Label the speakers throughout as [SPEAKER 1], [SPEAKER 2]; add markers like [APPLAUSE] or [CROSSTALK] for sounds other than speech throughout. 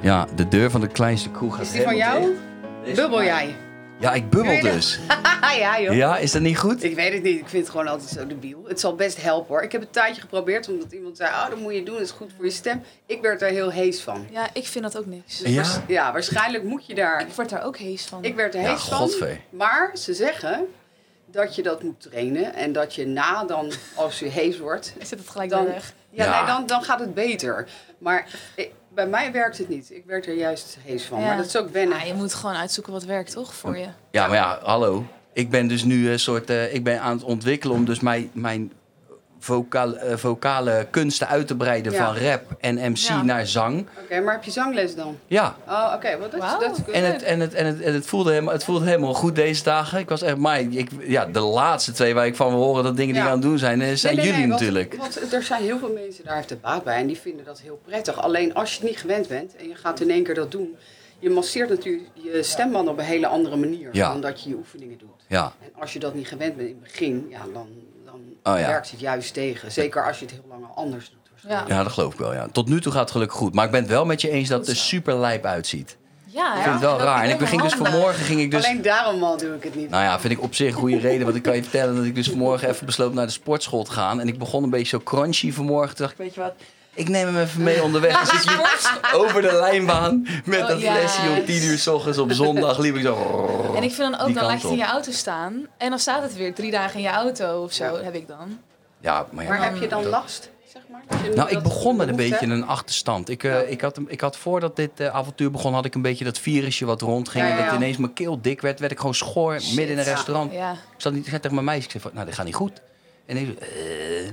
[SPEAKER 1] Ja, de deur van de kleinste kroeg gaat
[SPEAKER 2] Is die van
[SPEAKER 1] helemaal
[SPEAKER 2] jou?
[SPEAKER 1] dicht. Deze van
[SPEAKER 2] Bubbel
[SPEAKER 1] mij.
[SPEAKER 2] jij? [LAUGHS]
[SPEAKER 1] Ja, ik bubbel
[SPEAKER 2] Weet je
[SPEAKER 1] dus.
[SPEAKER 2] ja, joh.
[SPEAKER 1] Ja, is dat niet goed?
[SPEAKER 2] Ik weet het niet. Ik vind het gewoon altijd zo debiel. Het zal best helpen hoor. Ik heb een tijdje geprobeerd omdat iemand zei: Oh, dat moet je doen. Dat is goed voor je stem. Ik werd daar heel hees van.
[SPEAKER 3] Ja, ik vind dat ook niks.
[SPEAKER 2] Dus
[SPEAKER 1] Ja?
[SPEAKER 2] waars- ja, waarschijnlijk moet je daar.
[SPEAKER 3] Ik word daar ook hees van.
[SPEAKER 2] Ik werd er
[SPEAKER 1] Ja,
[SPEAKER 2] hees van.
[SPEAKER 1] godver.
[SPEAKER 2] Maar ze zeggen dat je dat moet trainen. En dat je na dan, als je hees wordt,
[SPEAKER 3] Ik zit het gelijk
[SPEAKER 2] dan,
[SPEAKER 3] weer weg.
[SPEAKER 2] ja,
[SPEAKER 1] Ja.
[SPEAKER 2] Nee, dan, dan gaat het beter. Maar ik- bij mij werkt het niet. Ik werd er juist hees van.
[SPEAKER 3] Ja.
[SPEAKER 2] Maar dat is ook wennen.
[SPEAKER 3] Ah, je moet gewoon uitzoeken wat werkt, toch? Voor je.
[SPEAKER 1] Ja, maar ja, hallo. Ik ben dus nu een soort. eh, ik ben aan het ontwikkelen om dus mijn, mijn vocaal, eh, vocale kunsten uit te breiden
[SPEAKER 2] Ja.
[SPEAKER 1] van rap en MC
[SPEAKER 3] Ja.
[SPEAKER 1] naar zang.
[SPEAKER 2] Oké, maar heb je zangles dan?
[SPEAKER 1] Ja.
[SPEAKER 2] Oh, oké. wel, dat, is-
[SPEAKER 3] Wauw.
[SPEAKER 2] dat is goed.
[SPEAKER 1] En het, en, het, en, het, en het voelde helemaal, het voelde helemaal goed deze dagen. Ik was echt, maar ik, ja, de laatste twee waar ik van wil horen dat dingen die
[SPEAKER 2] Ja.
[SPEAKER 1] we aan het doen zijn, eh, zijn
[SPEAKER 2] Nee,
[SPEAKER 1] jullie
[SPEAKER 2] nee, nee, want-
[SPEAKER 1] natuurlijk.
[SPEAKER 2] Want, er zijn heel veel mensen daar heeft de baat bij en die vinden dat heel prettig. Alleen als je het niet gewend bent en je gaat in één keer dat doen, je masseert natuurlijk je stembanden op een hele andere manier
[SPEAKER 1] Ja.
[SPEAKER 2] dan dat je je oefeningen doet.
[SPEAKER 1] Ja,
[SPEAKER 2] En als je dat niet gewend bent in het begin, ja, dan, dan
[SPEAKER 1] Oh ja.
[SPEAKER 2] werkt het juist tegen. Zeker als je het heel lang al anders doet. waarschijnlijk.
[SPEAKER 1] ja, dat geloof ik wel. Ja. Tot nu toe gaat het gelukkig goed. Maar ik ben het wel met je eens dat het er
[SPEAKER 3] Goed zo.
[SPEAKER 1] super lijp uitziet.
[SPEAKER 3] Ja,
[SPEAKER 1] Ik vind het wel raar. En ik ging dus vanmorgen ging ik dus.
[SPEAKER 2] Alleen daarom al doe ik het niet.
[SPEAKER 1] Nou ja, vind ik op zich een goede reden. Want ik kan je vertellen dat ik dus vanmorgen even besloot naar de sportschool te gaan. En ik begon een beetje zo crunchy vanmorgen. Toen dacht ik, weet je wat, ik neem hem even mee onderweg. Dus ik liep
[SPEAKER 2] [LAUGHS]
[SPEAKER 1] over de lijnbaan met
[SPEAKER 3] Oh,
[SPEAKER 1] dat
[SPEAKER 3] ja.
[SPEAKER 1] flesje om 10 uur s ochtends op zondag. Liep ik zo...
[SPEAKER 3] En ik vind dan ook,
[SPEAKER 1] Die
[SPEAKER 3] dan
[SPEAKER 1] kant
[SPEAKER 3] laat je het in
[SPEAKER 1] op.
[SPEAKER 3] je auto staan. En dan staat het weer drie dagen in je auto of zo,
[SPEAKER 2] Ja.
[SPEAKER 3] heb ik dan.
[SPEAKER 1] Ja, maar ja.
[SPEAKER 2] maar heb je dan
[SPEAKER 1] dat-
[SPEAKER 2] last, zeg maar? als je
[SPEAKER 1] Nou,
[SPEAKER 2] dat
[SPEAKER 1] ik begon met een
[SPEAKER 2] behoefte
[SPEAKER 1] beetje
[SPEAKER 2] hebt?
[SPEAKER 1] een achterstand. Ik, eh,
[SPEAKER 2] Ja.
[SPEAKER 1] ik, had, hem- ik had voordat dit eh, avontuur begon, had ik een beetje dat virusje wat rondging.
[SPEAKER 2] Ja, ja,
[SPEAKER 1] En dat
[SPEAKER 2] ja.
[SPEAKER 1] ineens mijn keel dik werd, werd ik gewoon schoor
[SPEAKER 3] Shit.
[SPEAKER 1] midden in een
[SPEAKER 2] Ja.
[SPEAKER 1] restaurant.
[SPEAKER 3] Ja.
[SPEAKER 1] Ik zat niet ik zei tegen mijn meisje, ik zei van, nou, dit gaat niet goed. En ik zo, eh.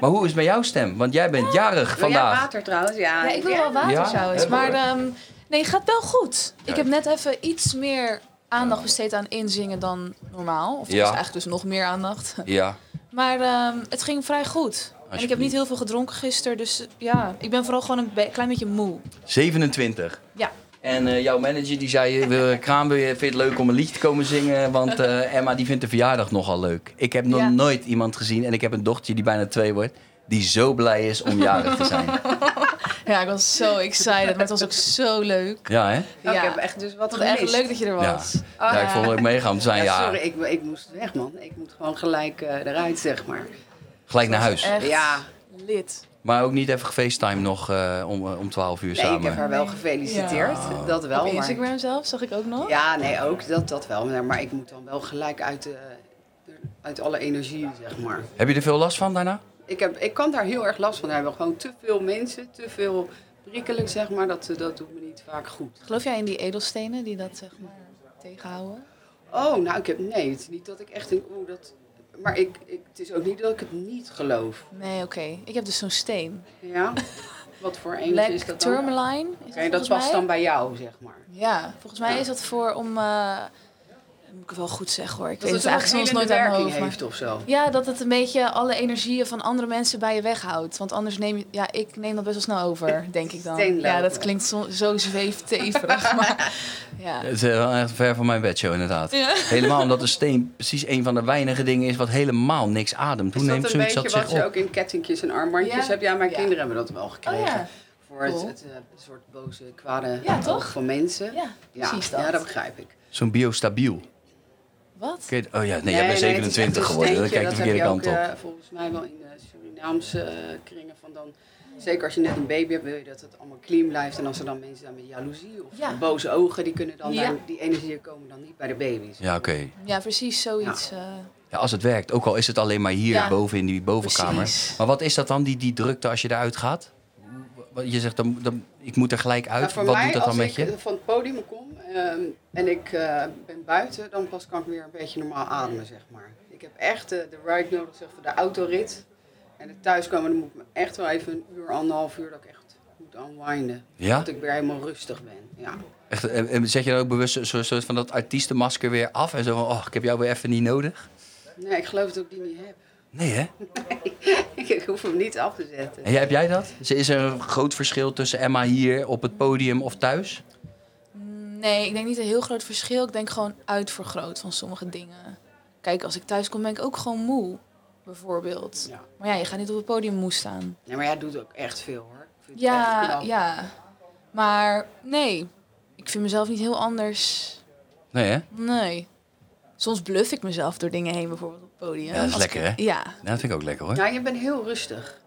[SPEAKER 1] Maar hoe is het met jouw stem? Want jij bent jarig
[SPEAKER 2] Wil jij
[SPEAKER 1] vandaag.
[SPEAKER 2] water trouwens? Ja,
[SPEAKER 3] Ja, ik wil wel water
[SPEAKER 1] Ja?
[SPEAKER 3] trouwens.
[SPEAKER 1] Heb
[SPEAKER 3] Maar
[SPEAKER 1] hoor.
[SPEAKER 3] ehm, nee, gaat wel goed. Ik
[SPEAKER 1] Kijk.
[SPEAKER 3] heb net even iets meer aandacht besteed aan inzingen dan normaal. Of
[SPEAKER 1] Ja.
[SPEAKER 3] ja. eigenlijk dus nog meer aandacht.
[SPEAKER 1] Ja.
[SPEAKER 3] Maar ehm, het ging vrij goed. En ik heb niet heel veel gedronken gisteren. Dus ja, ik ben vooral gewoon een be- klein beetje moe.
[SPEAKER 1] 27.
[SPEAKER 3] Ja.
[SPEAKER 1] En eh, jouw manager die zei, eh, wil- Kraan, wil je- vind je het leuk om een liedje te komen zingen? Want eh, Emma die vindt de verjaardag nogal leuk. Ik heb nog
[SPEAKER 3] Ja.
[SPEAKER 1] nooit iemand gezien en ik heb een dochtertje die bijna twee wordt. Die zo blij is om jarig te zijn.
[SPEAKER 2] [LAUGHS]
[SPEAKER 3] Ja, ik was zo excited. Maar het was ook zo leuk.
[SPEAKER 1] Ja, hè?
[SPEAKER 2] Oh, Ik
[SPEAKER 3] ja.
[SPEAKER 2] heb echt dus wat
[SPEAKER 3] Het was echt
[SPEAKER 2] gemist.
[SPEAKER 3] leuk dat je er was. Oh,
[SPEAKER 1] Ja, ik
[SPEAKER 3] ja.
[SPEAKER 1] vond het ook meegaan om te
[SPEAKER 3] Nou
[SPEAKER 1] zijn.
[SPEAKER 2] Ja,
[SPEAKER 1] Ja,
[SPEAKER 2] sorry, ik, ik moest weg, man. Ik moet gewoon gelijk eh, eruit, zeg maar.
[SPEAKER 1] gelijk naar huis.
[SPEAKER 3] Echt
[SPEAKER 2] Ja,
[SPEAKER 3] lid.
[SPEAKER 1] Maar ook niet even gefacetime nog eh, om, eh, om 12 uur
[SPEAKER 2] nee, ik heb
[SPEAKER 1] samen.
[SPEAKER 2] haar wel gefeliciteerd.
[SPEAKER 1] Ja.
[SPEAKER 2] Dat wel,
[SPEAKER 3] Op
[SPEAKER 2] maar...
[SPEAKER 3] Instagram zelf zag ik ook nog.
[SPEAKER 2] Ja, nee, ook dat, dat wel. Maar- Maar ik moet dan wel gelijk uit, de, uit alle energie, zeg maar.
[SPEAKER 1] Heb je er veel last van daarna?
[SPEAKER 2] Ik, heb, ik kan daar heel erg last van hebben. Gewoon te veel mensen, te veel prikkelen, zeg maar. Dat, eh, dat doet me niet vaak goed.
[SPEAKER 3] Geloof jij in die edelstenen die dat zeg maar tegenhouden?
[SPEAKER 2] Oh, nou, ik heb... Nee, het is niet dat ik echt denk... Oeh, dat... Maar ik, ik, het is ook niet dat ik het niet geloof.
[SPEAKER 3] Nee, oké. Ik heb dus zo'n steen. [LAUGHS]
[SPEAKER 2] Ja? Wat voor eentje is
[SPEAKER 3] Black
[SPEAKER 2] dat dan?
[SPEAKER 3] Tourmaline. Is
[SPEAKER 2] Oké, dat
[SPEAKER 3] volgens
[SPEAKER 2] past
[SPEAKER 3] mij?
[SPEAKER 2] dan bij jou, zeg maar.
[SPEAKER 3] Ja, volgens mij
[SPEAKER 2] Ja.
[SPEAKER 3] is dat voor om. eh, moet ik het wel goed zeggen hoor. Ik
[SPEAKER 2] Dat
[SPEAKER 3] weet
[SPEAKER 2] het
[SPEAKER 3] het
[SPEAKER 2] een
[SPEAKER 3] eigenlijk soms
[SPEAKER 2] helende
[SPEAKER 3] nooit aan mijn
[SPEAKER 2] werking
[SPEAKER 3] hoofd. maar-
[SPEAKER 2] heeft of zo.
[SPEAKER 3] Ja, dat het een beetje alle energieën van andere mensen bij je weghoudt. Want anders neem je. Ja, ik neem dat best wel snel over, denk ik dan.
[SPEAKER 2] Steenlopen.
[SPEAKER 3] Ja, dat klinkt zo, zo zweefteverig. maar ja.
[SPEAKER 1] Het is eh, wel echt ver van mijn bedshow, inderdaad.
[SPEAKER 3] [LAUGHS] Ja.
[SPEAKER 1] Helemaal omdat een steen precies een van de weinige dingen is wat helemaal niks ademt. Hoe
[SPEAKER 2] is
[SPEAKER 1] neemt
[SPEAKER 2] dat een
[SPEAKER 1] zoiets
[SPEAKER 2] beetje
[SPEAKER 1] dat
[SPEAKER 2] wat
[SPEAKER 1] zich
[SPEAKER 2] je
[SPEAKER 1] op?
[SPEAKER 2] ook in kettingjes en armbandjes
[SPEAKER 3] Ja.
[SPEAKER 2] hebt? Ja, mijn
[SPEAKER 3] Ja.
[SPEAKER 2] kinderen hebben dat wel gekregen.
[SPEAKER 3] Oh ja.
[SPEAKER 2] Voor het,
[SPEAKER 3] Cool.
[SPEAKER 2] het eh, soort boze, kwade
[SPEAKER 3] Ja,
[SPEAKER 2] oog
[SPEAKER 3] toch?
[SPEAKER 2] van mensen.
[SPEAKER 3] ja,
[SPEAKER 2] ja,
[SPEAKER 3] precies
[SPEAKER 2] ja,
[SPEAKER 3] dat.
[SPEAKER 2] dat begrijp ik.
[SPEAKER 1] Zo'n biostabiel.
[SPEAKER 3] Wat?
[SPEAKER 1] Ken je- Oh ja, nee, jij bent
[SPEAKER 2] het is
[SPEAKER 1] 27
[SPEAKER 2] echt een
[SPEAKER 1] geworden. Dan
[SPEAKER 2] steentje.
[SPEAKER 1] kijk je de verkeerde
[SPEAKER 2] heb
[SPEAKER 1] kant
[SPEAKER 2] je ook,
[SPEAKER 1] op.
[SPEAKER 2] eh, volgens mij wel in de Surinaamse eh, kringen van dan... Zeker als je net een baby hebt, wil je dat het allemaal clean blijft. En als er dan mensen zijn met jaloezie of
[SPEAKER 3] Ja.
[SPEAKER 2] boze ogen, die kunnen dan
[SPEAKER 3] Ja.
[SPEAKER 2] daar- die energieën komen dan niet bij de baby's.
[SPEAKER 1] Ja, oké.
[SPEAKER 3] Ja, precies zoiets. eh,
[SPEAKER 1] Ja, als het werkt, ook al is het alleen maar hier
[SPEAKER 3] Ja.
[SPEAKER 1] boven in die bovenkamer.
[SPEAKER 3] Precies.
[SPEAKER 1] Maar wat is dat dan, die, die drukte als je eruit gaat? Wat- Je zegt, dan, dan, ik moet er gelijk
[SPEAKER 2] Nou,
[SPEAKER 1] uit.
[SPEAKER 2] voor
[SPEAKER 1] wat
[SPEAKER 2] mij,
[SPEAKER 1] doet dat dan
[SPEAKER 2] als
[SPEAKER 1] met
[SPEAKER 2] ik eh,
[SPEAKER 1] je?
[SPEAKER 2] van het podium kom ehm, en ik eh, ben buiten, dan pas kan ik weer een beetje normaal ademen, zeg maar. Ik heb echt eh, de ride nodig, zeg voor de autorit. En het thuiskomen, dan moet ik me echt wel even een uur, anderhalf uur, dat ik echt moet unwinden.
[SPEAKER 1] Ja?
[SPEAKER 2] Dat ik weer helemaal rustig ben, ja.
[SPEAKER 1] Echt, en, en zet je dan ook bewust een soort, soort van dat artiestenmasker weer af? En zo van, oh, ik heb jou weer even niet nodig?
[SPEAKER 2] Nee, ik geloof dat ik die niet heb. [LAUGHS]
[SPEAKER 1] Nee, hè?
[SPEAKER 2] ik hoef hem niet af te zetten.
[SPEAKER 1] En jij, heb jij dat? Is- Is er een groot verschil tussen Emma hier op het podium of thuis?
[SPEAKER 3] Nee, ik denk niet een heel groot verschil. Ik denk gewoon uitvergroot van sommige dingen. Kijk, als ik thuis kom ben ik ook gewoon moe, bijvoorbeeld.
[SPEAKER 2] Ja.
[SPEAKER 3] Maar ja, je gaat niet op het podium moe staan.
[SPEAKER 2] Nee, maar jij doet ook echt veel, hoor. Ik vind het echt
[SPEAKER 3] Ja,
[SPEAKER 2] knap.
[SPEAKER 3] ja. Maar nee, ik vind mezelf niet heel anders.
[SPEAKER 1] Nee, hè?
[SPEAKER 3] Nee. Soms bluff ik mezelf door dingen heen, bijvoorbeeld op het podium.
[SPEAKER 1] Ja, dat is
[SPEAKER 3] Als ik-
[SPEAKER 1] lekker, hè?
[SPEAKER 3] Ja.
[SPEAKER 1] Ja, Nou, dat vind ik ook lekker, hoor.
[SPEAKER 2] Ja, je bent heel rustig.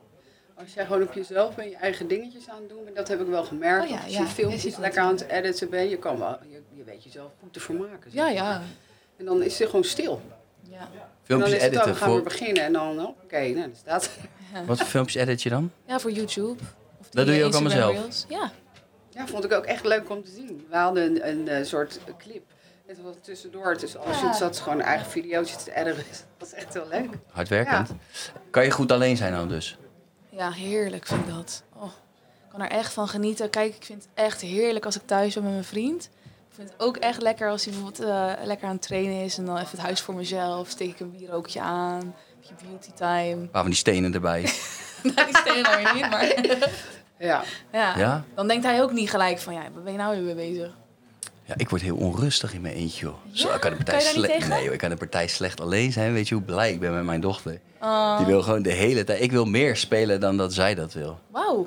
[SPEAKER 2] Als jij gewoon op jezelf bent, je eigen dingetjes aan het doen bent, dat heb ik wel gemerkt.
[SPEAKER 3] Oh ja,
[SPEAKER 2] Of als
[SPEAKER 3] ja,
[SPEAKER 2] je filmpjes
[SPEAKER 3] je ziet het.
[SPEAKER 2] lekker aan het editen bent, je, kan wel, je, je weet jezelf goed te vermaken. zeg
[SPEAKER 3] Ja,
[SPEAKER 2] maar.
[SPEAKER 3] ja.
[SPEAKER 2] En dan is het gewoon stil. En
[SPEAKER 3] Ja,
[SPEAKER 2] dan
[SPEAKER 1] Filmpjes
[SPEAKER 2] is het dan,
[SPEAKER 1] editen.
[SPEAKER 2] we gaan weer
[SPEAKER 1] Voor...
[SPEAKER 2] beginnen. En dan, oké, nou, dat staat.
[SPEAKER 1] Wat voor filmpjes edit je dan?
[SPEAKER 3] ja voor YouTube. Of
[SPEAKER 1] Dat
[SPEAKER 3] die,
[SPEAKER 1] doe je
[SPEAKER 3] eh,
[SPEAKER 1] ook allemaal
[SPEAKER 3] Instagram
[SPEAKER 1] zelf?
[SPEAKER 3] Reels. Ja.
[SPEAKER 2] [LAUGHS] Ja, vond ik ook echt leuk om te zien. We hadden een, een eh, soort clip. Het was tussendoor, dus alles
[SPEAKER 3] Ja.
[SPEAKER 2] ja. zat ze gewoon een eigen videootje te editen. [LAUGHS] Dat was echt heel leuk.
[SPEAKER 1] Hardwerkend. Kan je goed alleen zijn dan dus?
[SPEAKER 3] ja, heerlijk vind ik dat. Oh, ik kan er echt van genieten. Kijk, ik vind het echt heerlijk als ik thuis ben met mijn vriend. Ik vind het ook echt lekker als hij bijvoorbeeld eh, lekker aan het trainen is en dan even het huis voor mezelf. Steek ik een bierookje aan, een beetje beauty time. [LAUGHS]
[SPEAKER 1] Waar van die stenen erbij.
[SPEAKER 3] Nou, die stenen dan weer niet, maar
[SPEAKER 2] Ja,
[SPEAKER 3] ja.
[SPEAKER 1] Ja?
[SPEAKER 3] Dan denkt hij ook niet gelijk van, ja, waar ben je nou weer mee bezig?
[SPEAKER 1] Ja, ik word heel onrustig in mijn eentje, joh. Zo,
[SPEAKER 3] Ja?
[SPEAKER 1] ik kan de
[SPEAKER 3] Kan
[SPEAKER 1] partij
[SPEAKER 3] je daar niet
[SPEAKER 1] slecht.
[SPEAKER 3] tegen?
[SPEAKER 1] Nee, joh, ik kan de partij slecht alleen zijn. Weet je hoe blij ik ben met mijn dochter?
[SPEAKER 3] Oh,
[SPEAKER 1] Die wil gewoon de hele tijd. Ik wil meer spelen dan dat zij dat wil.
[SPEAKER 3] Wauw.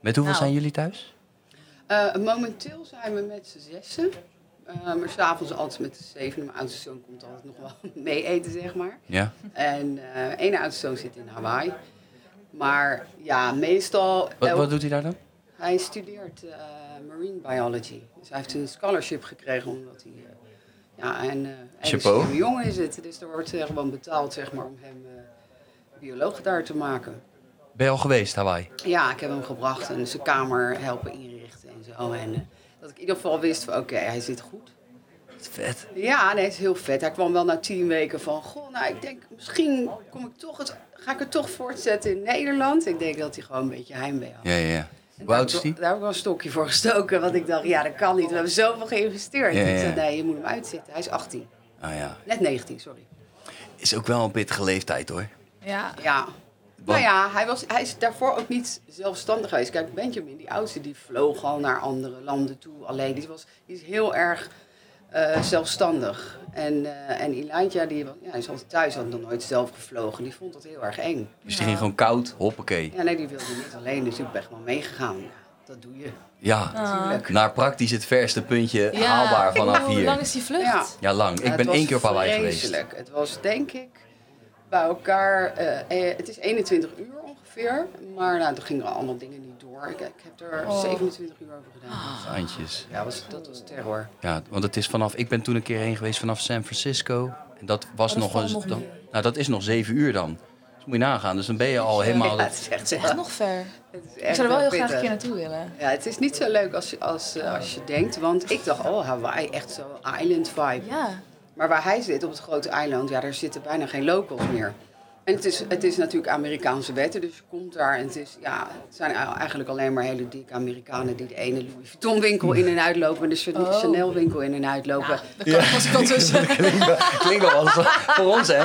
[SPEAKER 1] Met hoeveel
[SPEAKER 3] Nou.
[SPEAKER 1] zijn jullie thuis?
[SPEAKER 2] Eh, momenteel zijn we met z'n zessen. Eh maar s'avonds altijd met z'n zeven. Mijn oudste zoon komt altijd nog wel [LAUGHS] mee eten, zeg maar.
[SPEAKER 1] Ja.
[SPEAKER 2] En eh één oudste zoon zit in Hawaii. Maar ja, meestal...
[SPEAKER 1] Wat,
[SPEAKER 2] elk-
[SPEAKER 1] wat doet hij daar dan?
[SPEAKER 2] Hij studeert eh, marine biology. Dus hij heeft een scholarship gekregen omdat hij... eh, ja, en, eh hij is
[SPEAKER 1] Chapeau.
[SPEAKER 2] een jong is het. Dus er wordt eh, gewoon betaald, zeg maar, om hem eh, bioloog daar te maken.
[SPEAKER 1] Ben je al geweest, Hawaii?
[SPEAKER 2] Ja, ik heb hem gebracht en zijn kamer helpen inrichten en zo. En eh, dat ik in ieder geval wist van, oké, hij zit goed.
[SPEAKER 1] Vet.
[SPEAKER 2] Ja, nee, het is heel vet. Hij kwam wel na tien weken van, goh, nou, ik denk, misschien kom ik toch het, ga ik het toch voortzetten in Nederland. Ik denk dat hij gewoon een beetje heimwee had.
[SPEAKER 1] Ja, ja, ja.
[SPEAKER 2] En
[SPEAKER 1] Hoe
[SPEAKER 2] daar,
[SPEAKER 1] oud is
[SPEAKER 2] heb
[SPEAKER 1] die?
[SPEAKER 2] ik wel- daar heb ik wel een stokje voor gestoken, want ik dacht, ja, dat kan niet. We hebben zoveel geïnvesteerd.
[SPEAKER 1] Ja, ja,
[SPEAKER 2] Ik zei,
[SPEAKER 1] ja.
[SPEAKER 2] nee, je moet hem uitzitten. Hij is 18.
[SPEAKER 1] Ah ja.
[SPEAKER 2] Net 19, sorry.
[SPEAKER 1] Is ook wel een pittige leeftijd, hoor.
[SPEAKER 3] Ja.
[SPEAKER 2] Ja.
[SPEAKER 1] Want-
[SPEAKER 2] Nou ja, hij, was, hij is daarvoor ook niet zelfstandig geweest. Kijk, Benjamin, die oudste, die vloog al naar andere landen toe. Alleen, die, was, die is heel erg eh, zelfstandig. En, eh, en Elijah, die wa- ja, is altijd thuis, had nog nooit zelf gevlogen. Die vond dat heel erg eng.
[SPEAKER 1] Dus die
[SPEAKER 3] Ja.
[SPEAKER 1] ging gewoon koud. Hoppakee.
[SPEAKER 2] Ja, nee, die wilde niet alleen, dus ik ben gewoon meegegaan. Ja, dat doe je.
[SPEAKER 1] Ja.
[SPEAKER 3] Ah.
[SPEAKER 2] Tuurlijk.
[SPEAKER 1] Naar praktisch het verste puntje
[SPEAKER 3] Ja.
[SPEAKER 1] haalbaar vanaf
[SPEAKER 3] Oh, Hoe lang
[SPEAKER 1] hier.
[SPEAKER 3] is die vlucht?
[SPEAKER 2] Ja.
[SPEAKER 1] Ja, lang.
[SPEAKER 2] Ja,
[SPEAKER 1] Ik
[SPEAKER 2] het
[SPEAKER 1] ben
[SPEAKER 2] was
[SPEAKER 1] één keer op Hawaii geweest.
[SPEAKER 2] vreselijk. Het was denk ik bij elkaar, eh, eh, het is 21 uur ongeveer. Maar nou, toen gingen er allemaal dingen niet door. Ik, ik heb er
[SPEAKER 3] Oh.
[SPEAKER 2] 27 uur over gedaan.
[SPEAKER 1] Handjes.
[SPEAKER 2] Ja, was, dat was terror.
[SPEAKER 1] Ja, want het is vanaf. Ik ben toen een keer heen geweest vanaf San Francisco. En dat was
[SPEAKER 3] Oh, dat
[SPEAKER 1] nog
[SPEAKER 3] valt
[SPEAKER 1] eens.
[SPEAKER 3] nog
[SPEAKER 1] dan-
[SPEAKER 3] mee.
[SPEAKER 1] nou, dat is nog zeven uur dan. Dus moet je nagaan. Dus dan ben je al
[SPEAKER 2] [LAUGHS]
[SPEAKER 1] helemaal.
[SPEAKER 2] Ja, het is echt,
[SPEAKER 3] Echt nog ver.
[SPEAKER 2] het is echt
[SPEAKER 3] Ik zou er wel heel graag
[SPEAKER 2] pittig.
[SPEAKER 3] een keer naartoe willen.
[SPEAKER 2] Ja, het is niet zo leuk als, je- als, eh, als je denkt. Want ik dacht, oh, Hawaii, echt zo'n island vibe.
[SPEAKER 3] Ja.
[SPEAKER 2] Maar waar hij zit, op het grote eiland, ja, daar zitten bijna geen locals meer. En het is, het is natuurlijk Amerikaanse wetten, dus je komt daar en het, is, ja, het zijn eigenlijk alleen maar hele dikke Amerikanen die de ene Louis Vuitton winkel in en uitlopen en de Chan-
[SPEAKER 3] Oh.
[SPEAKER 2] Chanel winkel in en uitlopen.
[SPEAKER 3] Dat kan pas ik al
[SPEAKER 2] [LAUGHS]
[SPEAKER 3] tussen.
[SPEAKER 1] Klinkt wel als voor ons, hè?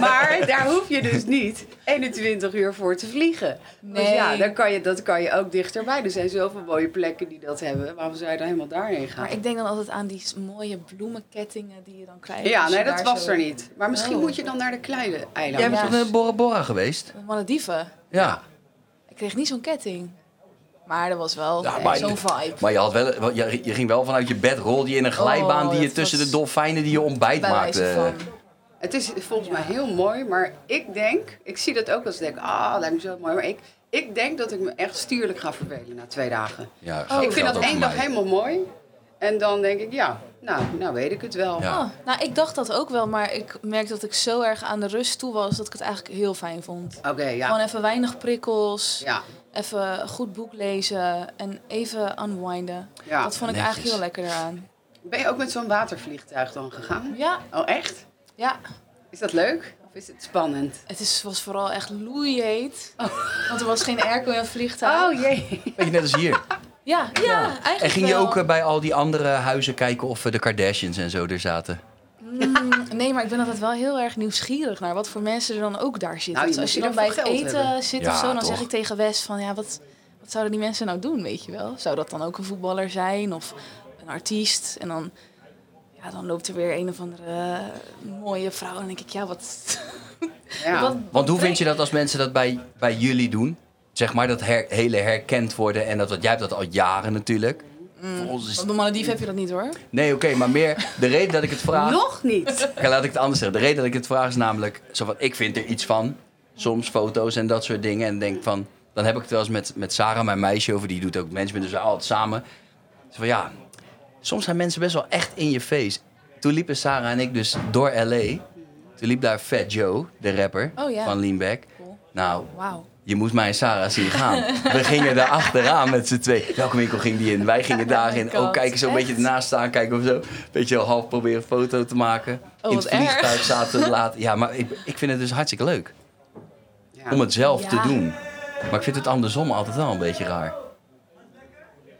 [SPEAKER 2] Maar daar hoef je dus niet 21 uur voor te vliegen. Dus
[SPEAKER 3] Nee.
[SPEAKER 2] ja, dan kan je, dat kan je ook dichterbij. Er zijn zoveel mooie plekken die dat hebben. Waarom zou je dan helemaal daarheen gaan?
[SPEAKER 3] Maar ik denk dan altijd aan die mooie bloemenkettingen die je dan krijgt.
[SPEAKER 2] Ja,
[SPEAKER 3] als je
[SPEAKER 2] nee, dat
[SPEAKER 3] daar
[SPEAKER 2] was
[SPEAKER 3] zo-
[SPEAKER 2] er niet. Maar misschien
[SPEAKER 3] Oh.
[SPEAKER 2] moet je dan naar de kleine
[SPEAKER 1] Jij
[SPEAKER 2] eilanden.
[SPEAKER 1] bent
[SPEAKER 3] Ja.
[SPEAKER 1] toch naar Bora Bora geweest?
[SPEAKER 3] De Malediven.
[SPEAKER 1] Ja.
[SPEAKER 3] Ik kreeg niet zo'n ketting. Maar dat was wel
[SPEAKER 1] Ja,
[SPEAKER 3] echt
[SPEAKER 1] maar-
[SPEAKER 3] zo'n vibe.
[SPEAKER 1] Maar je, had wel, wel- je je ging wel vanuit je bed, rolde je in een glijbaan
[SPEAKER 3] Oh,
[SPEAKER 1] die je
[SPEAKER 3] dat
[SPEAKER 1] tussen
[SPEAKER 3] was-
[SPEAKER 1] de dolfijnen die je ontbijt
[SPEAKER 3] Bij wijze
[SPEAKER 1] maakte.
[SPEAKER 3] van.
[SPEAKER 2] Het is volgens mij heel mooi, maar ik denk, ik zie dat ook als ik denk, ah, lijkt me zo mooi. Maar ik, ik denk dat ik me echt stierlijk ga vervelen na twee dagen.
[SPEAKER 1] Ja,
[SPEAKER 3] Oh,
[SPEAKER 2] ik vind
[SPEAKER 1] geldt
[SPEAKER 2] dat
[SPEAKER 1] ook
[SPEAKER 2] één
[SPEAKER 1] voor
[SPEAKER 2] dag
[SPEAKER 1] mij.
[SPEAKER 2] helemaal mooi. En dan denk ik, ja, nou, nou weet ik het wel.
[SPEAKER 1] Ja.
[SPEAKER 3] Oh, nou, ik dacht dat ook wel, maar ik merkte dat ik zo erg aan de rust toe was dat ik het eigenlijk heel fijn vond.
[SPEAKER 2] Oké, ja.
[SPEAKER 3] Gewoon even weinig prikkels,
[SPEAKER 2] Ja,
[SPEAKER 3] even een goed boek lezen en even unwinden.
[SPEAKER 2] ja.
[SPEAKER 3] dat vond ik
[SPEAKER 1] netjes.
[SPEAKER 3] eigenlijk heel lekker eraan.
[SPEAKER 2] Ben je ook met zo'n watervliegtuig dan gegaan?
[SPEAKER 3] Ja,
[SPEAKER 2] Oh, echt?
[SPEAKER 3] ja.
[SPEAKER 2] Is dat leuk? Of is het spannend?
[SPEAKER 3] Het is, was vooral echt loeiheet, want er was geen airco in het vliegtuig.
[SPEAKER 2] Oh jee.
[SPEAKER 1] Weet je, net als hier.
[SPEAKER 3] [LAUGHS] Ja, ja, eigenlijk
[SPEAKER 1] En ging je
[SPEAKER 3] wel.
[SPEAKER 1] ook eh, bij al die andere huizen kijken of eh, de Kardashians en zo er zaten?
[SPEAKER 3] Mm, nee, maar ik ben altijd wel heel erg nieuwsgierig naar wat voor mensen er dan ook daar zitten.
[SPEAKER 2] Nou, je
[SPEAKER 3] dus als je
[SPEAKER 2] moet
[SPEAKER 3] dan bij
[SPEAKER 2] hiervoor
[SPEAKER 3] het
[SPEAKER 2] geld
[SPEAKER 3] eten
[SPEAKER 2] hebben.
[SPEAKER 3] zit
[SPEAKER 1] Ja,
[SPEAKER 3] of zo, dan
[SPEAKER 1] toch?
[SPEAKER 3] zeg ik tegen Wes van ja, wat, wat zouden die mensen nou doen, weet je wel? Zou dat dan ook een voetballer zijn of een artiest? En dan, ja, dan loopt er weer een of andere eh, mooie vrouw en dan denk ik ja, wat...
[SPEAKER 2] [LAUGHS] Ja.
[SPEAKER 3] wat
[SPEAKER 1] Want hoe
[SPEAKER 3] brengt-
[SPEAKER 1] vind je dat als mensen dat bij, bij jullie doen? zeg maar, dat her- hele herkend worden en dat, want jij hebt dat al jaren natuurlijk. Voor ons is
[SPEAKER 3] Op de Malediven heb je dat niet hoor.
[SPEAKER 1] Nee, oké, maar meer de reden dat ik het vraag.
[SPEAKER 2] Nog niet.
[SPEAKER 1] Oké, laat ik het anders zeggen. De reden dat ik het vraag is namelijk, zo van, ik vind er iets van. Soms foto's en dat soort dingen. En denk van, dan heb ik het wel eens met, met Sarah, mijn meisje, over. Die doet ook management, dus we altijd samen. Zo van, ja, soms zijn mensen best wel echt in je face. Toen liepen Sarah en ik dus door L.A. Toen liep daar Fat Joe, de rapper
[SPEAKER 3] Oh, ja.
[SPEAKER 1] van Leanback.
[SPEAKER 3] Cool.
[SPEAKER 1] Nou,
[SPEAKER 3] Wauw.
[SPEAKER 1] je moest mij en Sarah zien gaan.
[SPEAKER 3] [LAUGHS]
[SPEAKER 1] We gingen daar achteraan met z'n twee. Welke winkel ging die in? Wij gingen daarin.
[SPEAKER 3] [LAUGHS] Oh my
[SPEAKER 1] ook
[SPEAKER 3] God,
[SPEAKER 1] kijken, zo'n beetje
[SPEAKER 3] echt?
[SPEAKER 1] ernaast staan kijken of zo. Beetje wel half proberen een foto te maken.
[SPEAKER 3] Oh,
[SPEAKER 1] in het
[SPEAKER 3] wat erg.
[SPEAKER 1] vliegtuig zaten
[SPEAKER 3] [LAUGHS]
[SPEAKER 1] we laat. Ja, maar ik, ik vind het dus hartstikke leuk
[SPEAKER 2] Ja.
[SPEAKER 1] om het zelf
[SPEAKER 3] Ja.
[SPEAKER 1] te doen. Maar ik vind het andersom altijd wel een beetje raar.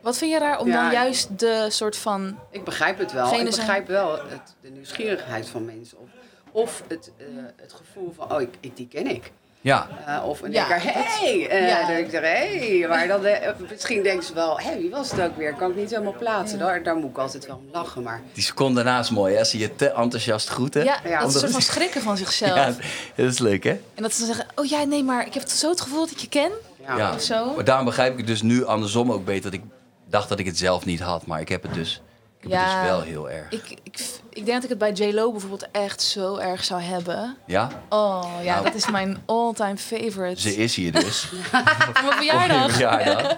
[SPEAKER 3] Wat vind je daar om
[SPEAKER 2] Ja,
[SPEAKER 3] dan
[SPEAKER 2] ik-
[SPEAKER 3] juist de soort van...
[SPEAKER 2] Ik begrijp het wel.
[SPEAKER 3] Genen
[SPEAKER 2] ik
[SPEAKER 3] zijn-
[SPEAKER 2] begrijp wel het, de nieuwsgierigheid van mensen. Of, of het, eh, het gevoel van, oh, ik, ik- die ken ik.
[SPEAKER 1] Ja,
[SPEAKER 2] Eh, of een
[SPEAKER 3] Ja,
[SPEAKER 2] keer, hey! eh,
[SPEAKER 3] Ja.
[SPEAKER 2] dat ik zeg, hey! Maar dan, eh, misschien denken ze wel, hé, hey, wie was het ook weer? Kan ik niet helemaal plaatsen. Daar, daar moet ik altijd wel om lachen. Maar
[SPEAKER 1] die seconde daarna is mooi. Hè? Als ze je te enthousiast groeten.
[SPEAKER 3] Ja,
[SPEAKER 2] Ja,
[SPEAKER 3] dat is een
[SPEAKER 1] omdat-
[SPEAKER 3] soort van schrikken van zichzelf.
[SPEAKER 1] [LAUGHS] Ja, dat is leuk, hè?
[SPEAKER 3] En dat ze dan zeggen, oh ja, nee, maar ik heb zo het gevoel dat ik je ken.
[SPEAKER 2] ja,
[SPEAKER 1] Ja.
[SPEAKER 3] Of zo.
[SPEAKER 1] Maar daarom begrijp ik het dus nu andersom ook beter. Dat ik dacht dat ik het zelf niet had. Maar ik heb het dus, ik heb het
[SPEAKER 3] Ja.
[SPEAKER 1] dus wel heel erg.
[SPEAKER 3] Ik, ik, ik denk dat ik het bij J-Lo bijvoorbeeld echt zo erg zou hebben.
[SPEAKER 1] Ja?
[SPEAKER 3] Oh ja,
[SPEAKER 1] Nou.
[SPEAKER 3] dat is mijn all-time favorite.
[SPEAKER 1] Ze is hier dus.
[SPEAKER 3] Voor mijn
[SPEAKER 1] Op
[SPEAKER 3] verjaardag.
[SPEAKER 1] je verjaardag.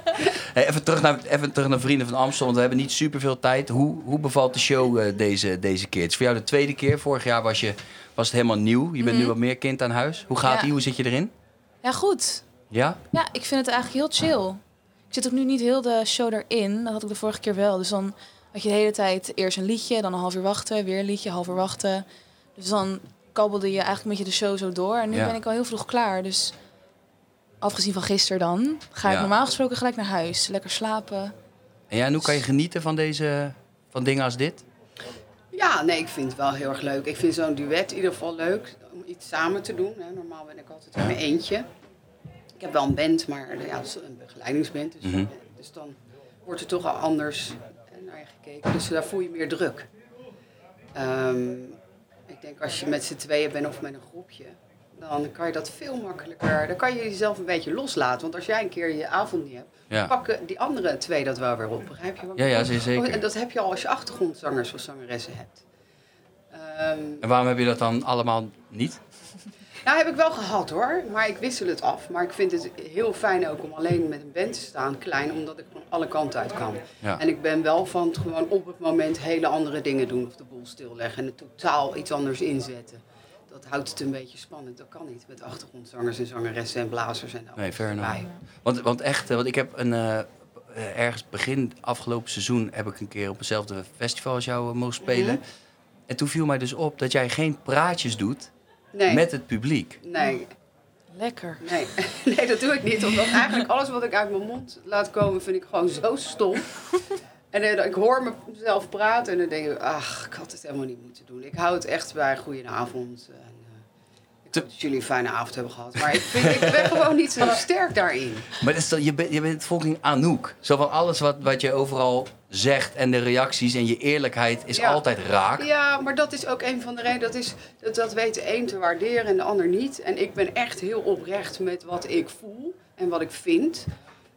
[SPEAKER 1] Hey, even, terug naar, even terug naar Vrienden van Amstel, want we hebben niet superveel tijd. Hoe, hoe bevalt de show eh, deze, deze keer? Het is voor jou de tweede keer. Vorig jaar was, je, was het helemaal nieuw. Je bent nu wat meer kind aan huis. Hoe gaat
[SPEAKER 3] Ja.
[SPEAKER 1] die? Hoe zit je erin?
[SPEAKER 3] Ja, goed.
[SPEAKER 1] Ja?
[SPEAKER 3] Ja, ik vind het eigenlijk heel chill. Ik zit ook nu niet heel de show erin. Dat had ik de vorige keer wel. Dus dan had je de hele tijd eerst een liedje, dan een half uur wachten, weer een liedje, half uur wachten. Dus dan kabbelde je eigenlijk een beetje de show zo door. En nu
[SPEAKER 1] Ja.
[SPEAKER 3] ben ik al heel vroeg klaar. Dus afgezien van gisteren dan, ga
[SPEAKER 1] Ja.
[SPEAKER 3] ik normaal gesproken gelijk naar huis. Lekker slapen.
[SPEAKER 1] En ja, en hoe kan je genieten van, deze, van dingen als dit?
[SPEAKER 2] Ja, nee, ik vind het wel heel erg leuk. Ik vind zo'n duet in ieder geval leuk om iets samen te doen. Hè. Normaal ben ik altijd in mijn eentje. Ik heb wel een band, maar nou ja, dat is een begeleidingsband. Dus,
[SPEAKER 1] Mhm.
[SPEAKER 2] dus dan wordt er toch al anders eh, naar je gekeken. Dus daar voel je meer druk. Ehm, ik denk als je met z'n tweeën bent of met een groepje, dan kan je dat veel makkelijker. Dan kan je jezelf een beetje loslaten. Want als jij een keer je avond niet hebt,
[SPEAKER 1] Ja,
[SPEAKER 2] pakken die andere twee dat wel weer op. Begrijp je wat ik
[SPEAKER 1] ja, ja
[SPEAKER 2] bedoel?
[SPEAKER 1] zeer
[SPEAKER 2] Oh, en
[SPEAKER 1] zeker.
[SPEAKER 2] dat heb je al als je achtergrondzangers of zangeressen hebt. Ehm
[SPEAKER 1] En waarom heb je dat dan allemaal niet?
[SPEAKER 2] nou, heb ik wel gehad hoor, maar ik wissel het af. Maar ik vind het heel fijn ook om alleen met een band te staan, klein, omdat ik van alle kanten uit kan.
[SPEAKER 1] Ja.
[SPEAKER 2] En ik ben wel van het gewoon op het moment hele andere dingen doen of de boel stilleggen en het totaal iets anders inzetten. Dat houdt het een beetje spannend. Dat kan niet met achtergrondzangers en zangeressen en blazers en
[SPEAKER 1] Nee,
[SPEAKER 2] alles
[SPEAKER 1] fair
[SPEAKER 2] erbij.
[SPEAKER 1] enough. Want, want echt, eh, want ik heb een, eh, eh, ergens begin afgelopen seizoen heb ik een keer op hetzelfde festival als jou eh, mogen spelen. En toen viel mij dus op dat jij geen praatjes doet
[SPEAKER 2] Nee,
[SPEAKER 1] met het publiek.
[SPEAKER 2] nee,
[SPEAKER 3] Lekker.
[SPEAKER 2] Nee. nee, [LAUGHS] dat doe ik niet. Omdat eigenlijk alles wat ik uit mijn mond laat komen, vind ik gewoon zo stom. En eh, ik hoor mezelf praten en dan denk ik, ach, ik had het helemaal niet moeten doen. Ik hou het echt bij goedenavond. En, eh, ik
[SPEAKER 1] Te-
[SPEAKER 2] hoop dat jullie een fijne avond hebben gehad. Maar ik, vind, ik ben gewoon niet zo sterk daarin.
[SPEAKER 1] Maar dat is toch- je, bent, je bent fucking Anouk. Zo van alles wat, wat je overal zegt en de reacties en je eerlijkheid is
[SPEAKER 2] Ja.
[SPEAKER 1] altijd raak.
[SPEAKER 2] Ja, maar dat is ook een van de redenen. Dat, is, dat, dat weet de een te waarderen en de ander niet. En ik ben echt heel oprecht met wat ik voel en wat ik vind.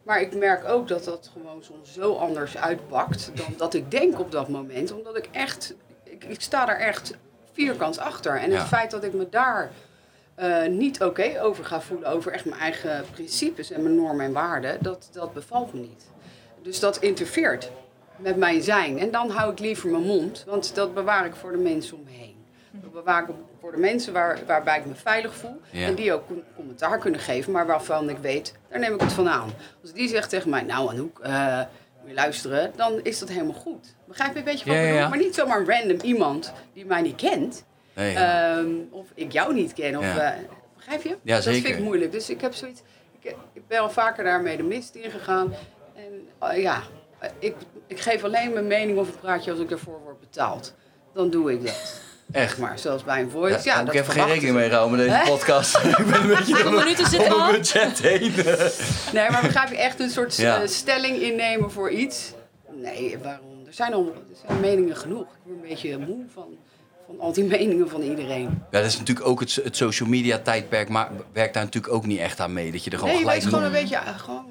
[SPEAKER 2] Maar ik merk ook dat dat gewoon soms zo anders uitpakt dan dat ik denk op dat moment. Omdat ik echt, ik, ik sta daar echt vierkant achter. En
[SPEAKER 1] Ja.
[SPEAKER 2] het feit dat ik me daar eh, niet oké over ga voelen, over echt mijn eigen principes en mijn normen en waarden, dat, dat bevalt me niet. Dus dat interfereert met mijn zijn. En dan hou ik liever mijn mond, want dat bewaar ik voor de mensen om me heen. Dat bewaar ik voor de mensen waar, waarbij ik me veilig voel.
[SPEAKER 1] Ja.
[SPEAKER 2] En die ook een commentaar kunnen geven, maar waarvan ik weet, daar neem ik het van aan. Als die zegt tegen mij, nou Anouk, eh moet je luisteren, dan is dat helemaal goed. Begrijp je een beetje wat
[SPEAKER 1] Ja,
[SPEAKER 2] ik
[SPEAKER 1] ja,
[SPEAKER 2] bedoel?
[SPEAKER 1] ja.
[SPEAKER 2] Maar niet zomaar een random iemand die mij niet kent.
[SPEAKER 1] Nee, ja.
[SPEAKER 2] Ehm, of ik jou niet ken. Of,
[SPEAKER 1] Ja.
[SPEAKER 2] eh, begrijp je?
[SPEAKER 1] Ja,
[SPEAKER 2] dat
[SPEAKER 1] zeker.
[SPEAKER 2] vind ik moeilijk. Dus ik heb zoiets. Ik, ik ben al vaker daarmee de mist ingegaan. En eh, ja, eh, ik, ik geef alleen mijn mening of een praatje als ik daarvoor word betaald. Dan doe ik dat.
[SPEAKER 1] echt.
[SPEAKER 2] Maar zoals bij een
[SPEAKER 1] Ja,
[SPEAKER 2] voice. Ja,
[SPEAKER 1] heb
[SPEAKER 2] dat
[SPEAKER 1] ik even geen
[SPEAKER 2] verwachten
[SPEAKER 1] rekening mee
[SPEAKER 2] ze.
[SPEAKER 1] gehouden met deze
[SPEAKER 2] Hè?
[SPEAKER 1] podcast. [LAUGHS] ik
[SPEAKER 2] [LAUGHS]
[SPEAKER 1] ben een beetje
[SPEAKER 3] Hoeveel
[SPEAKER 1] door
[SPEAKER 3] minuten
[SPEAKER 1] mijn-
[SPEAKER 3] zitten
[SPEAKER 1] door mijn
[SPEAKER 3] we al?
[SPEAKER 1] budget heen.
[SPEAKER 2] Nee, maar begrijp je echt een soort
[SPEAKER 1] Ja.
[SPEAKER 2] eh, stelling innemen voor iets? Nee, waarom? Er zijn al er zijn meningen genoeg. Ik word een beetje moe van, van van al die [LAUGHS] meningen van iedereen.
[SPEAKER 1] Ja, dat is natuurlijk ook het, het social media tijdperk, maar werkt daar natuurlijk ook niet echt aan mee. Dat je er gewoon
[SPEAKER 2] nee, je
[SPEAKER 1] gelijk
[SPEAKER 2] wees gewoon een beetje, eh, gewoon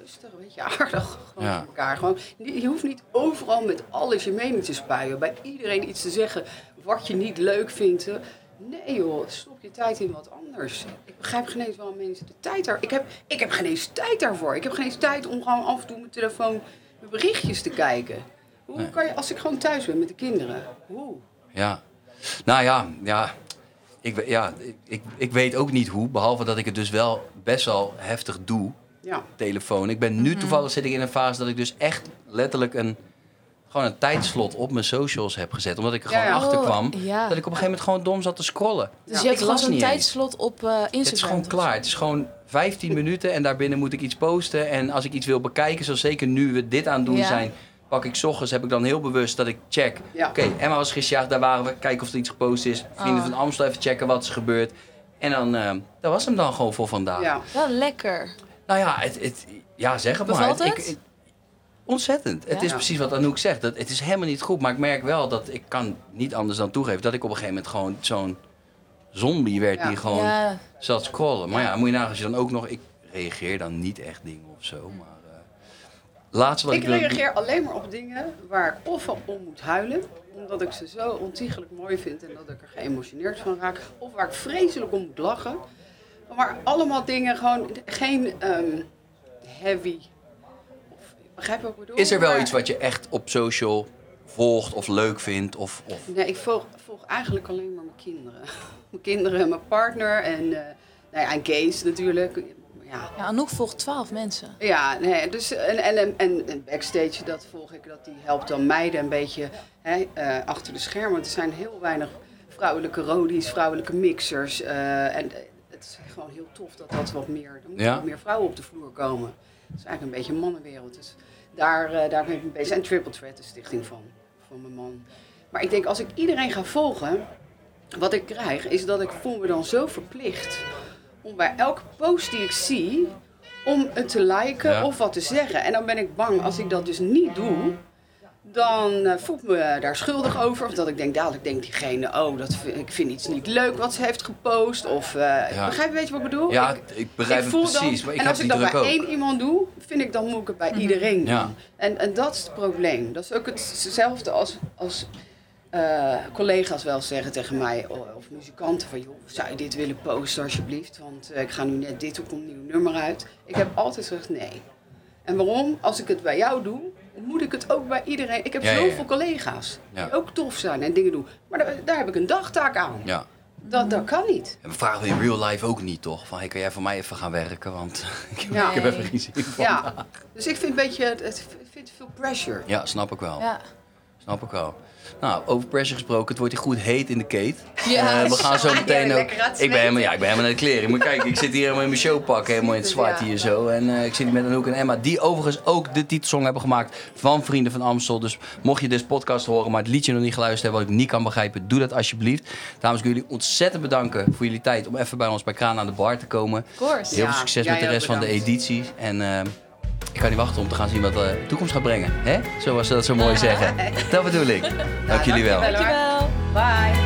[SPEAKER 2] rustig, een beetje [LAUGHS] aardig gewoon
[SPEAKER 1] Ja.
[SPEAKER 2] voor elkaar. Gewoon, je je hoeft niet overal met alles je mening te spuien. Bij iedereen iets te zeggen wat je niet leuk vindt. eh. Nee joh, stop je tijd in wat anders. Ik begrijp geen eens waarom mensen de tijd daar... Ik heb, ik heb geen eens tijd daarvoor. Ik heb geen eens tijd om gewoon af en toe op mijn telefoon mijn berichtjes te kijken. Hoe
[SPEAKER 1] Nee.
[SPEAKER 2] kan je, als ik gewoon thuis ben met de kinderen, hoe?
[SPEAKER 1] Ja. Nou ja, ja. Ik, we- ja ik- ik, ik weet ook niet hoe, behalve dat ik het dus wel best wel heftig doe,
[SPEAKER 2] Ja.
[SPEAKER 1] telefoon. Ik ben nu
[SPEAKER 3] Mhm.
[SPEAKER 1] toevallig zit ik in een fase dat ik dus echt letterlijk een, gewoon een tijdslot op mijn socials heb gezet. Omdat ik er
[SPEAKER 2] Ja,
[SPEAKER 1] gewoon
[SPEAKER 2] ja.
[SPEAKER 1] achter kwam
[SPEAKER 3] Oh, ja.
[SPEAKER 1] dat ik op een gegeven moment gewoon dom zat te scrollen.
[SPEAKER 3] Dus
[SPEAKER 2] Ja.
[SPEAKER 3] je
[SPEAKER 1] Ik
[SPEAKER 3] hebt gewoon
[SPEAKER 1] las
[SPEAKER 3] zo'n
[SPEAKER 1] niet eens.
[SPEAKER 3] tijdslot op eh, Instagram.
[SPEAKER 1] Het is gewoon
[SPEAKER 3] toch?
[SPEAKER 1] klaar. Het is gewoon 15 minuten en daarbinnen moet ik iets posten. En als ik iets wil bekijken, zoals zeker nu we dit aan het doen
[SPEAKER 3] Ja.
[SPEAKER 1] zijn, pak ik 's ochtends, heb ik dan heel bewust dat ik check.
[SPEAKER 2] Ja.
[SPEAKER 1] Oké, Emma was gisterjaagd, daar waren we. Kijken of er iets gepost is. Vrienden
[SPEAKER 3] Ah.
[SPEAKER 1] van Amstel even checken wat is gebeurd. En dan, eh, dat was hem dan gewoon voor vandaag.
[SPEAKER 2] Ja.
[SPEAKER 3] Wel lekker.
[SPEAKER 1] Nou ja, het, het, ja zeg het
[SPEAKER 3] Bevalt
[SPEAKER 1] maar.
[SPEAKER 3] het?
[SPEAKER 1] ontzettend. Het
[SPEAKER 3] Ja.
[SPEAKER 1] is precies wat Anouk zegt. Dat, het is helemaal niet goed. Maar ik merk wel dat ik kan niet anders dan toegeven dat ik op een gegeven moment gewoon zo'n zombie werd
[SPEAKER 2] Ja.
[SPEAKER 1] die gewoon
[SPEAKER 3] Ja.
[SPEAKER 1] zat scrollen. Maar ja, moet je nagaan als je dan ook nog... Ik reageer dan niet echt dingen of zo, maar... eh, laatste wat ik,
[SPEAKER 2] Ik
[SPEAKER 1] wil-
[SPEAKER 2] reageer alleen maar op dingen waar ik of van om moet huilen, omdat ik ze zo ontiegelijk mooi vind en dat ik er geëmotioneerd van raak, of waar ik vreselijk om moet lachen. Maar allemaal dingen, gewoon geen ehm, heavy. Of, begrijp je wat ik bedoel?
[SPEAKER 1] Is er wel
[SPEAKER 2] Maar-
[SPEAKER 1] iets wat je echt op social volgt of leuk vindt of... of
[SPEAKER 2] Nee, ik volg, volg eigenlijk alleen maar mijn kinderen. [LAUGHS] Mijn kinderen en mijn partner en, eh, nou ja, en Kees natuurlijk. Ja,
[SPEAKER 3] Ja, Anouk volgt 12 mensen.
[SPEAKER 2] Ja, nee, dus en, en, en, en, en backstage, dat volg ik, dat die helpt dan meiden een beetje hè, eh, achter de schermen. Want er zijn heel weinig vrouwelijke rodies, vrouwelijke mixers. eh, en eh, het is gewoon heel tof dat dat wat meer, er moeten
[SPEAKER 1] Ja.
[SPEAKER 2] wat meer vrouwen op de vloer komen. Het is eigenlijk een beetje een mannenwereld. Dus daar, eh, daar ben ik mee bezig. En Triple Threat, de stichting van, van mijn man. Maar ik denk, als ik iedereen ga volgen, wat ik krijg, is dat ik voel me dan zo verplicht om bij elke post die ik zie, om het te liken
[SPEAKER 1] Ja.
[SPEAKER 2] of wat te zeggen. En dan ben ik bang, als ik dat dus niet doe, dan eh, voel ik me daar schuldig over. Of dat ik denk, dadelijk denkt diegene, oh, dat vind, ik vind iets niet leuk wat ze heeft gepost. Of, eh,
[SPEAKER 1] Ja.
[SPEAKER 2] begrijp je, weet je wat ik bedoel?
[SPEAKER 1] ja,
[SPEAKER 2] Ik-
[SPEAKER 1] ik, begrijp
[SPEAKER 2] ik
[SPEAKER 1] het
[SPEAKER 2] voel
[SPEAKER 1] precies,
[SPEAKER 2] dan,
[SPEAKER 1] maar ik heb
[SPEAKER 2] en als ik
[SPEAKER 1] die
[SPEAKER 2] dat
[SPEAKER 1] druk
[SPEAKER 2] bij
[SPEAKER 1] ook.
[SPEAKER 2] één iemand doe, vind ik dan moet ik het bij iedereen doen.
[SPEAKER 1] Ja.
[SPEAKER 2] En, en dat is het probleem. Dat is ook hetzelfde als, als eh, collega's wel eens zeggen tegen mij, o- of muzikanten, van joh, zou je dit willen posten alsjeblieft? Want eh, ik ga nu net dit, er komt een nieuw nummer uit. Ik heb altijd gezegd nee. En waarom? Als ik het bij jou doe, moet ik het ook bij iedereen. Ik heb
[SPEAKER 1] Ja, ja, ja.
[SPEAKER 2] zoveel collega's
[SPEAKER 1] Ja.
[SPEAKER 2] die ook tof zijn en dingen doen. Maar daar, daar heb ik een dagtaak aan.
[SPEAKER 1] Ja.
[SPEAKER 2] Dat, dat kan niet.
[SPEAKER 1] En we vragen we in real life ook niet, toch? Van, hey, kan jij voor mij even gaan werken? Want [LAUGHS] ik heb,
[SPEAKER 2] Ja.
[SPEAKER 1] ik heb even geen zin van.
[SPEAKER 2] Ja. Dus ik vind een beetje, het- het ik vind veel pressure.
[SPEAKER 1] Ja, snap ik wel.
[SPEAKER 3] Ja.
[SPEAKER 1] Snap ik wel. Nou, over pressure gesproken, het wordt hier goed heet in de kate.
[SPEAKER 2] [LAUGHS]
[SPEAKER 3] Ja,
[SPEAKER 1] Eh, we gaan zo
[SPEAKER 2] ja,
[SPEAKER 1] meteen ook.
[SPEAKER 2] lekker aan het
[SPEAKER 1] Ik ben, helemaal,
[SPEAKER 2] zweten.
[SPEAKER 1] ja, ik ben helemaal naar de kleren. Maar kijk, ik zit hier helemaal in mijn showpak, helemaal in het zwart hier zo. En eh, ik zit hier met Anouk en Emma, die overigens ook de titelsong hebben gemaakt van Vrienden van Amstel. Dus mocht je deze podcast horen, maar het liedje nog niet geluisterd hebben, wat ik niet kan begrijpen, doe dat alsjeblieft. Dames, ik wil jullie ontzettend bedanken voor jullie tijd om even bij ons bij Kraan aan de bar te komen.
[SPEAKER 3] Of course.
[SPEAKER 1] Heel
[SPEAKER 2] Ja,
[SPEAKER 1] veel succes
[SPEAKER 2] jij
[SPEAKER 1] met de
[SPEAKER 2] ook
[SPEAKER 1] rest van de
[SPEAKER 2] bedankt.
[SPEAKER 1] editie. En eh, ik kan niet wachten om te gaan zien wat eh, de toekomst gaat
[SPEAKER 2] [LAUGHS]
[SPEAKER 1] brengen. Hè? Zoals ze dat zo mooi zeggen. Dat bedoel ik. Dank jullie wel.
[SPEAKER 2] dankjewel.
[SPEAKER 3] Dankjewel.
[SPEAKER 2] Bye.